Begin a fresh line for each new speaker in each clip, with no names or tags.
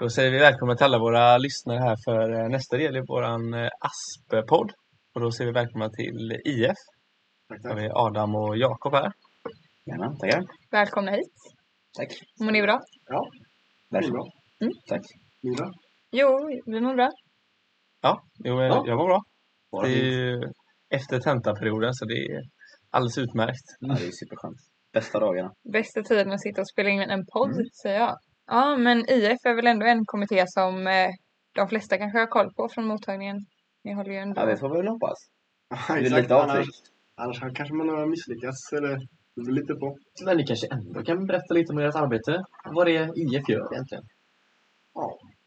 Då säger vi välkomna till alla våra lyssnare här för eh, nästa del i våran eh, ASP-podd. Och då säger vi välkomna till IF.
Tack,
Där
tack.
vi är Adam och Jakob här.
Gärna, tackar.
Välkomna hit.
Tack.
Mår ni bra?
Varsågod.
Mm.
Tack.
Ni då?
Jo, vi mår bra.
Ja, jo, men
Ja.
jag mår bra.
Bara
Det är
fint.
ju efter tentaperioden så det är alldeles utmärkt.
Mm.
Ja, det är superskönt. Bästa dagarna.
Bästa tiden att sitta och spela in en podd, säger jag. Ja, men IF är väl ändå en kommitté som eh, de flesta kanske har koll på från mottagningen. Ni håller ju ändå...
Ja, det får vi väl hoppas.
Ja,
Det är
exakt.
lite
annars,
avtryck.
annars har- kanske man har misslyckats eller det beror lite på.
Men ni kanske ändå kan berätta lite om ert arbete? Vad det är IF gör egentligen?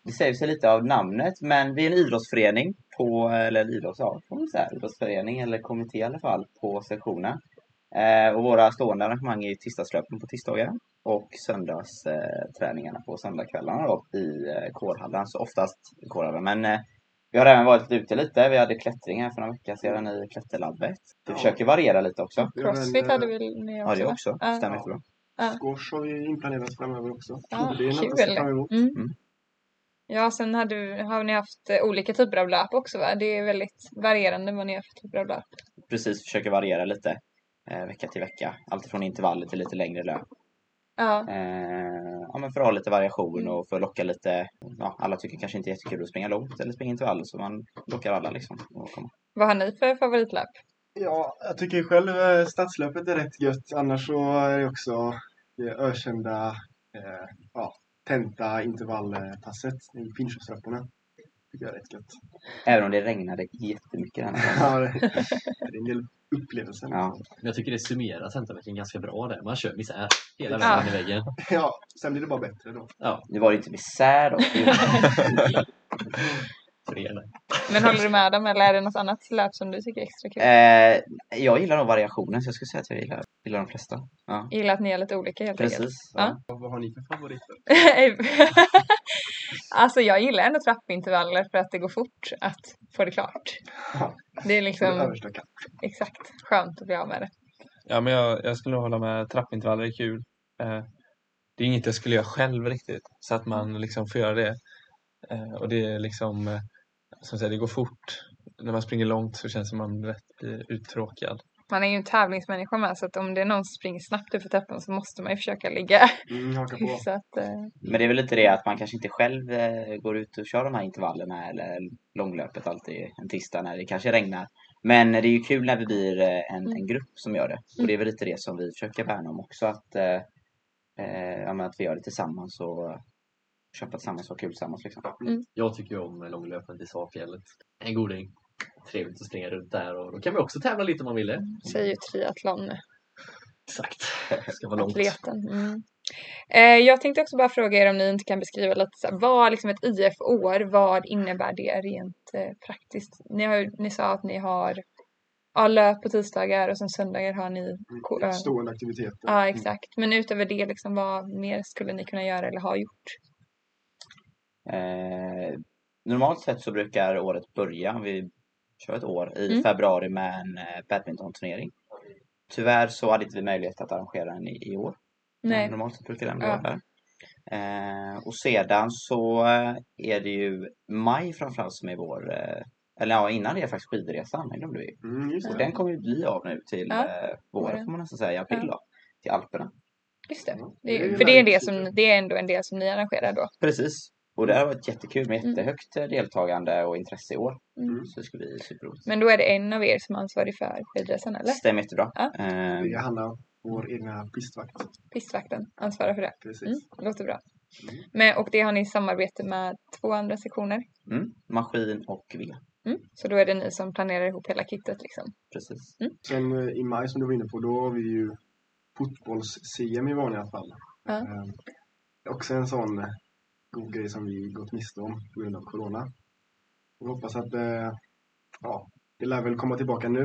Det säger sig lite av namnet, men vi är en idrottsförening på, eller en idrotts, ja, får man säga, idrottsförening eller kommitté i alla fall på sektionen. Eh, och våra stående arrangemang är ju tisdagslöpen på tisdagar och söndagsträningarna eh, träningarna på söndagskvällarna då i eh, kårhallen, så oftast i kårhallen. Men eh, vi har även varit ute lite. Vi hade klättring här för några veckor sedan i klätterlabbet. Vi
Ja.
försöker variera lite också.
Vi har
Crossfit
väl, eh,
hade väl ni också?
Ja, det
va?
också.
Ja.
Stämmer jättebra.
Ja.
Squash har vi inplanerat framöver också.
Ja,
Så det är något att se
kul.
fram emot.
Mm.
Mm.
Ja, sen har, du, har ni haft eh, olika typer av löp också va? Det är väldigt varierande vad ni har för typer av löp.
Precis, försöker variera lite eh, vecka till vecka. Allt från intervaller till lite längre löp.
Ja,
Eh, ja, men för att ha lite variation
Mm.
och för att locka lite. Ja, alla tycker kanske inte är jättekul att springa långt eller springa intervaller så man lockar alla liksom. Och komma.
vad har ni för favoritlöp?
Ja, jag tycker själv eh, stadslöpet är rätt gött. Annars så är det också det ökända eh, ja, tenta-intervallpasset i pinchupstrapporna. tycker jag är rätt gött.
Även om det regnade jättemycket den här gången.
Ja, det det är en del upplevelser.
Ja,
Men jag tycker det summerar Centerveckan ganska bra där. Man kör misär
Ja.
hela vägen in i väggen.
Ja, sen blir det bara bättre då.
nu var det inte misär då.
Så det är det.
Men håller du med dem eller är det något annat löp som du tycker är extra kul?
eh, jag gillar nog variationen så jag skulle säga att jag gillar, gillar de flesta. Ja,
Jag gillar att ni är lite olika helt enkelt.
precis. Ja.
Vad har ni för favoriter?
alltså jag gillar ändå trappintervaller för att det går fort att få det klart.
Ja.
Det är
Som...
liksom
Överstökat.
exakt skönt att bli av med det.
Ja, men jag, jag skulle nog hålla med. Trappintervaller är kul. Eh, det är inget jag skulle göra själv riktigt, så att man liksom får göra det. Eh, och det är liksom, eh, som sagt, det går fort. När man springer långt så känns det som man rätt blir uttråkad.
Man är ju en tävlingsmänniska med så att om det är någon som springer snabbt för trappan så måste man ju försöka ligga
Mm, haka på.
hyfsat. eh,
Men det är väl lite det att man kanske inte själv eh, går ut och kör de här intervallerna eller långlöpet alltid en tisdag när det kanske regnar. Men det är ju kul när vi blir eh, en,
Mm.
en grupp som gör det. Och det är väl lite det som vi försöker värna om också. Att, eh, eh, ja, men att vi gör det tillsammans och köpa tillsammans och ha kul tillsammans. Liksom.
Jag tycker ju om långlöpen till Sakfjället. En goding. Trevligt att springa runt där och då kan vi också tävla lite om man ville.
Säger ju triathlon nu.
Exakt. Det ska vara långt.
Atleten. Mm. Eh, jag tänkte också bara fråga er om ni inte kan beskriva lite så här, vad liksom ett IF-år, vad innebär det rent eh, praktiskt? Ni, har, ju- ni sa att ni har ja, löp på tisdagar och sen söndagar har ni ko-
Mm,
eh,
Stående aktiviteter. Mm.
Ja, exakt. Men utöver det, liksom, vad mer skulle ni kunna göra eller ha gjort?
Eh, normalt sett så brukar året börja, vi kör ett år, i
Mm.
februari med en eh, badmintonturnering. Tyvärr så hade inte vi möjlighet att arrangera den i, i år.
Nej.
Men Eh, Normalt sett brukar den
Ja.
vara där. Eh, och sedan så eh, är det ju maj framförallt som är vår, eh, eller ja innan det är faktiskt skidresan, den glömde vi.
Mm, just
Och
det.
den kommer ju bli av nu till eh,
Ja,
våren
våren.
får man nästan säga, i april
Ja.
då. Till Alperna.
Just det.
Ja,
det
det är ju
är, för det är,
väldigt
det, som, det är ändå en del som ni arrangerar då.
Precis. Och det har varit jättekul med
Mm.
jättehögt eh, deltagande och intresse i år.
Mm.
Så det ska bli superroligt.
Men då är det en av er som är ansvarig för skidresan, eller?
Stämmer jättebra.
Ja.
Eh,
Det är Hanna, vår egna pistvakt.
Pistvakten ansvarar för det.
Precis.
Mm, låter bra.
Mm.
Men, och det har ni i samarbete med två andra sektioner.
mm, maskin och V.
Mm. Så då är det ni som planerar ihop hela kittet liksom.
Precis.
Sen eh, i maj som du var inne på, då har vi ju fotbolls-CM i vanliga fall.
Ja.
Eh, det är också en sån eh, god grej som vi gått miste om på grund av corona. Vi hoppas att eh, ja, det lär väl komma tillbaka nu.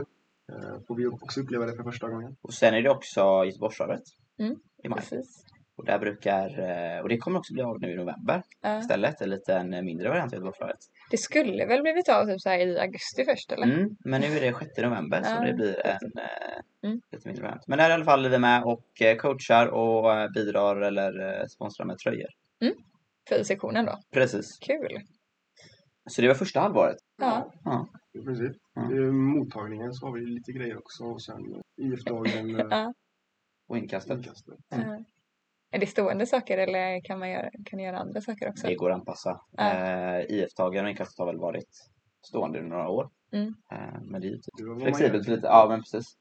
Eh, får vi också uppleva det för första gången.
Och sen är det också Göteborgsvarvet
Mm,
i maj.
Precis.
Och, där brukar, eh, och det kommer också bli av nu i november
Ja.
istället. En liten eh, mindre variant av Göteborgsvarvet.
Det skulle väl blivit av typ så här i augusti först eller?
Mm, men nu är det 6 november så
Ja,
det blir en eh,
Mm.
lite mindre variant. Men där i alla fall är vi med och eh, coachar och eh, bidrar eller eh, sponsrar med tröjor.
Mm. för sektionen då.
Precis.
Kul!
Så det var första halvåret.
Ja.
I princip.
Ja.
I mottagningen så har vi lite grejer också och sen eh, IF-dagen, eh,
ja.
Och inkastet.
inkastet.
ja. Är det stående saker eller kan man göra, kan ni göra andra saker också?
Det går att anpassa.
Ja.
Eh, IF-dagen och inkastet har väl varit stående under några år.
Mm.
Eh, men det är ju typ
Det var vad man
flexibelt
gör.
lite. Ja, men precis.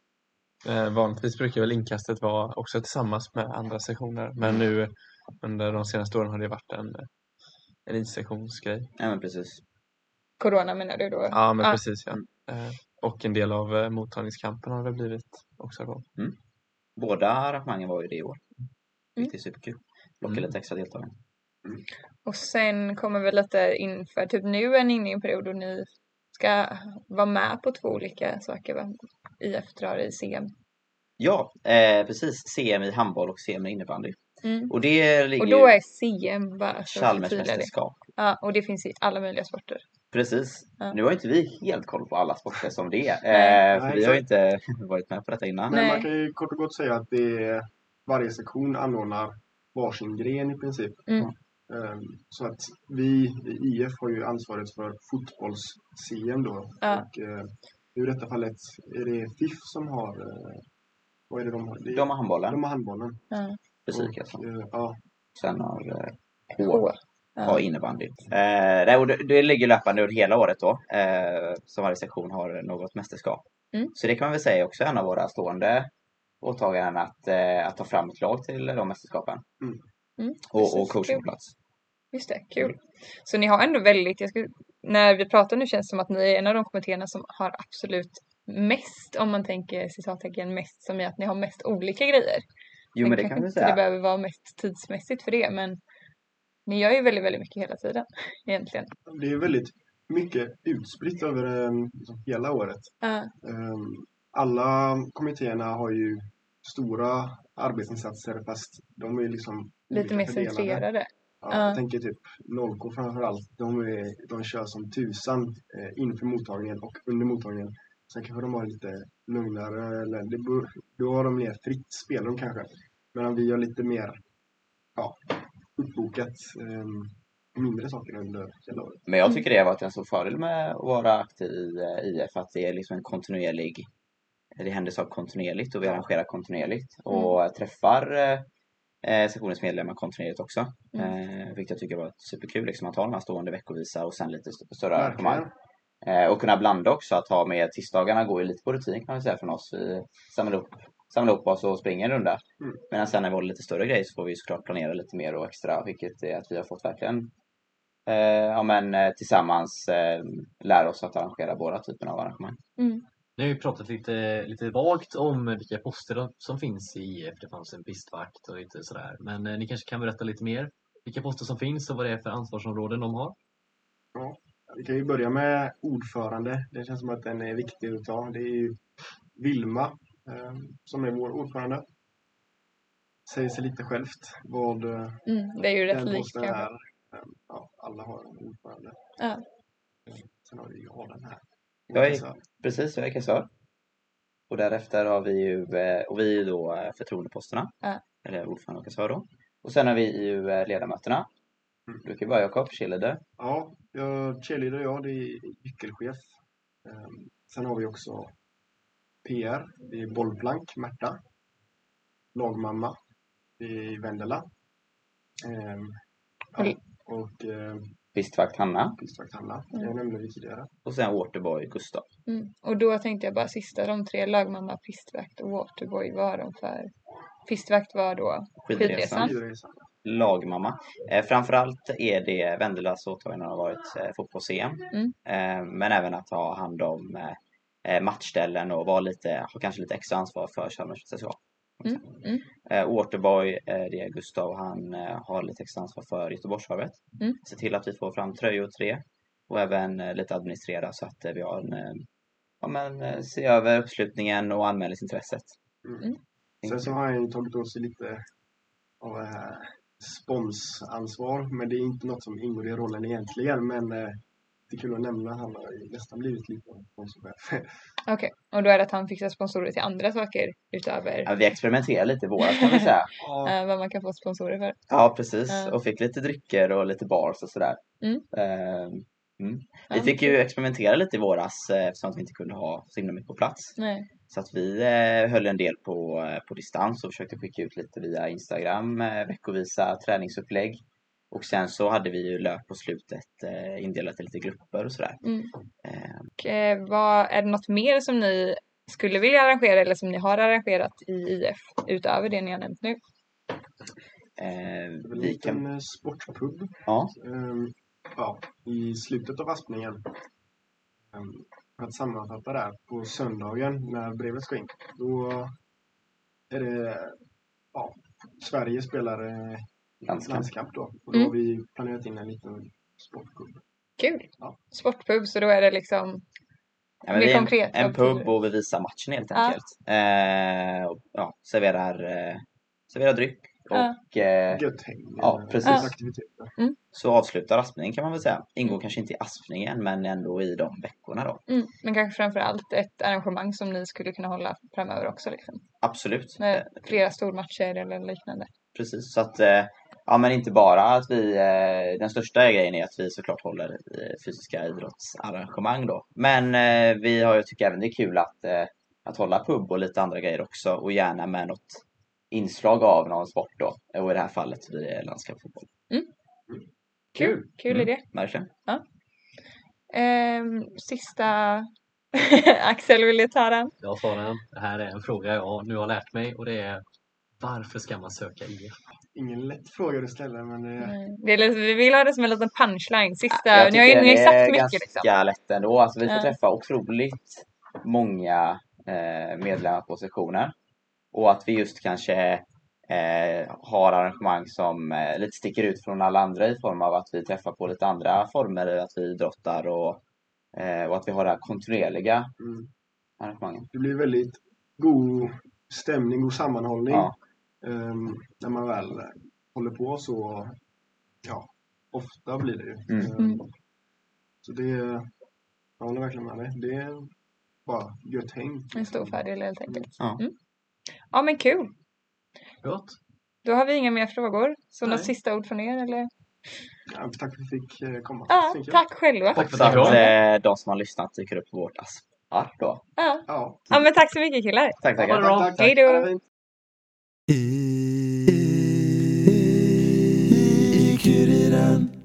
Eh, vanligtvis brukar väl inkastet vara också tillsammans med andra sektioner men nu under de senaste åren har det varit en, en insektionsgrej.
Ja, men precis.
Corona menar du då?
Ja men
Ja.
precis ja. Eh, och en del av eh, mottagningskampen har det blivit också då.
Båda arrangemangen var ju det i år.
Mm.
Vilket är superkul. Locka
Mm.
lite extra deltagare.
Och sen kommer vi lite inför, typ nu är ni inne i en period då ni ska vara med på två olika saker va? IF drar i CM.
Ja, eh, precis. CM i handboll och CM i innebandy.
Mm.
Och det ligger
Och då
ju
är CM bara för att
Chalmers
förtydliga det.
mästerskap.
Ja, och det finns i alla möjliga sporter.
Precis.
Ja.
Nu har inte vi helt koll på alla sporter som det är.
Nej.
Eh, för
Nej,
vi har ju inte varit med på detta innan.
Nej.
Men man kan ju kort och gott säga att det är, varje sektion anordnar varsin gren i princip.
Mm.
Ehm, Så att vi i IF har ju ansvaret för fotbolls-CM då.
Ja.
Och, eh, I detta fallet är det FIF som har... eh, Vad är det de har? Det är-
De har handbollen,
de har handbollen.
fysik
Och,
alltså.
eh, ja,
Sen har eh,
H.
H har
Ja.
innebandy. Eh, nej, och det, det ligger löpande under hela året då. Eh, som varje sektion har något mästerskap.
Mm.
Så det kan man väl säga också är en av våra stående åtaganden att, eh, att ta fram ett lag till de mästerskapen.
Mm.
Mm,
Och, och
precis.
coachen
Kul.
på plats.
Just det, kul. Så ni har ändå väldigt, jag skulle, när vi pratar nu känns det som att ni är en av de kommittéerna som har absolut mest, om man tänker citattecken mest, som i att ni har mest olika grejer.
Jo
Sen
men det
kanske
kan vi
inte
säga.
Det behöver vara mest tidsmässigt för det, men ni gör ju väldigt, väldigt mycket hela tiden egentligen.
det är väldigt mycket utspritt över eh, liksom, hela året.
Ja,
Ehm, Alla kommittéerna har ju stora arbetsinsatser fast de är liksom
lite
olika
mer
fördelade.
centrerade.
Ja,
Ja.
Jag tänker typ Nolko framförallt. De, är, de kör som tusan eh, inför mottagningen och under mottagningen. Sen kanske de har lite lugnare eller det bör, då har de mer fritt spelrum kanske. Medan vi har lite mer ja, uppbokat ehm, mindre saker under hela året.
Men jag tycker det har varit en stor fördel med att vara aktiv i eh, IF, att det är liksom en kontinuerlig, det händer saker kontinuerligt och vi arrangerar kontinuerligt och träffar eh, eh, sektionens medlemmar kontinuerligt också. Eh, vilket jag tycker var superkul, liksom, att ha de här stående veckovisa och sen lite st- större arrangemang.
Verkligen.
Eh, och kunna blanda också, att ha med tisdagarna går ju lite på rutin kan man säga från oss. Vi samlar upp, samlar upp oss och springer en runda.
Mm.
Medan sen när vi håller lite större grejer så får vi såklart planera lite mer och extra, vilket är att vi har fått verkligen eh, ja, men, eh, tillsammans eh, lära oss att arrangera båda typerna av arrangemang.
Mm.
Nu har vi pratat lite, lite vagt om vilka poster som finns i IF. Det fanns en pistvakt och lite sådär. Men eh, ni kanske kan berätta lite mer vilka poster som finns och vad det är för ansvarsområden de har.
Vi kan ju börja med ordförande. Det känns som att den är viktig att ta. Det är ju Vilma eh, som är vår ordförande. Säger sig lite självt vad eh,
Mm, det är ju rätt
den
likt
posten
kanske.
är. eh, Ja, alla har en ordförande. Eh,
Ja.
Sen har vi ju Adam här.
Jag är-
Och så-
Precis, jag är kassör. Och därefter har vi ju, eh, och vi är ju då eh, förtroendeposterna,
Ja.
eller ordförande och kassör då. Och sen har vi ju eh, ledamöterna.
Mm.
Du kan ju börja Jakob, cheerleader.
Ja, jag, cheerleader jag, det är gyckelchef. Eh, Sen har vi också PR, det är bollplank, Märta. Lagmamma, det är Vendela. Eh, Ja,
Oj.
och eh,
Pistvakt Hanna
Pistvakt Hanna,
Mm.
jag nämnde vi tidigare.
och sen Waterboy Gustav.
Mm. Och då tänkte jag bara sista, de tre, lagmamma, pistvakt och waterboy, vad var de för? Pistvakt var då,
Skidresan,
Skidresan.
Skidresa.
lagmamma. Eh, framförallt är det Vendelas åtagande har varit eh, fotbolls-EM.
Mm.
Eh, men även att ha hand om eh, eh, matchställen och vara lite, ha kanske lite extra ansvar för Chalmers mästerskap.
Mm, mm.
Eh, Waterboy, eh, det är Gustav, han eh, har lite extra ansvar för Göteborgsvarvet.
Mm.
Se till att vi får fram tröjor och tre och även eh, lite administrera så att eh, vi har en, eh, ja men eh, se över uppslutningen och anmälningsintresset.
Mm.
Mm.
Sen så har han ju tagit åt sig lite av eh, sponsansvar, men det är inte något som ingår i rollen egentligen. Men eh, jättekul att nämna. Han har ju nästan blivit lite av en sponsorchef.
Okej, och då är det att han fixar sponsorer till andra saker utöver
Ja, vi experimenterar lite i våras kan vi säga.
Ja,
eh, vad man kan få sponsorer för.
Ja, precis.
Ja.
Och fick lite drycker och lite bars och sådär.
Mm.
Ehm, mm. Vi
Ja.
fick ju experimentera lite i våras eh, eftersom att vi inte kunde ha så himla mycket på plats.
Nej.
Så att vi eh, höll en del på, eh, på distans och försökte skicka ut lite via Instagram, eh, veckovisa träningsupplägg. Och sen så hade vi ju löp på slutet eh, indelat i lite grupper och sådär.
Mm.
Eh,
Och, eh, vad, är det något mer som ni skulle vilja arrangera eller som ni har arrangerat i IF utöver det ni har nämnt nu?
eh,
det är väl
vi kan...
en liten eh, sportpub
Ja,
Ehm, ja, i slutet av Aspningen. Ehm, För att sammanfatta där, på söndagen när brevet ska in, då är det ja, Sverige spelar eh,
Landskamp.
landskamp då. Och då
Mm.
har vi planerat in en liten sportpub.
Kul!
Ja.
Sportpub, så då är det liksom...
ja men
Mer
vi är
konkret,
en, en
vad betyder
pub
det?
och vi visar matchen helt
Ja.
enkelt. Eh, och, ja, serverar, eh, serverar dryck
Ja.
och eh,
Gött häng.
Ja,
eh,
precis.
Aktiviteter.
så avslutar Aspningen kan man väl säga. Ingår kanske inte i Aspningen men ändå i de veckorna då.
Mm, men kanske framför allt ett arrangemang som ni skulle kunna hålla framöver också liksom.
Absolut. Eh,
Med flera stormatcher eller liknande.
Precis, så att eh, ja, men inte bara att vi, eh, den största grejen är att vi såklart håller eh, fysiska idrottsarrangemang då. Men eh, vi har ju tycker även det är kul att, eh, att hålla pub och lite andra grejer också och gärna med något inslag av någon sport då. Och i det här fallet blir det landskampsfotboll.
Kul.
Mm. Kul
Mm.
idé!
Verkligen.
Ehm, sista... Axel, vill du ta den?
Jag svarar den. Det här är en fråga jag nu har lärt mig och det är varför ska man söka IF?
Ingen lätt fråga du ställer men det är
Nej. Mm. Det är, lite- vi vill ha det som en liten punchline. Sista...
Jag
ni har ju
tycker
ni har
det
ju sagt
är
mycket
ganska
liksom.
lätt ändå. Alltså, vi får
Ja.
träffa otroligt många eh, medlemmar på sessionen. Och att vi just kanske eh, har arrangemang som eh, lite sticker ut från alla andra i form av att vi träffar på lite andra former, att vi idrottar och, eh, och att vi har det här kontinuerliga
Mm.
arrangemanget.
Det blir väldigt god stämning, god sammanhållning
Ja,
ehm, när man väl håller på så ja, ofta blir det ju.
Mm.
Ehm,
Mm.
Så det, jag håller verkligen med dig. Det är bara gött häng.
En stor fördel helt enkelt.
Ja.
Mm. ja men kul!
Gott.
Då har vi inga mer frågor. Så
Nej.
något sista ord från er eller?
Ja, tack för att vi fick eh, komma.
Ja,
tänker jag.
tack själva!
Tack för
så att
det.
eh, de som har lyssnat dyker upp på vårt ASP-ark då.
Ja.
Ja,
ja men tack så mycket killar!
Tack,
Ja,
tackar!
vad bra.
Hej då.
Ha det fint.
I, i, i kuriren.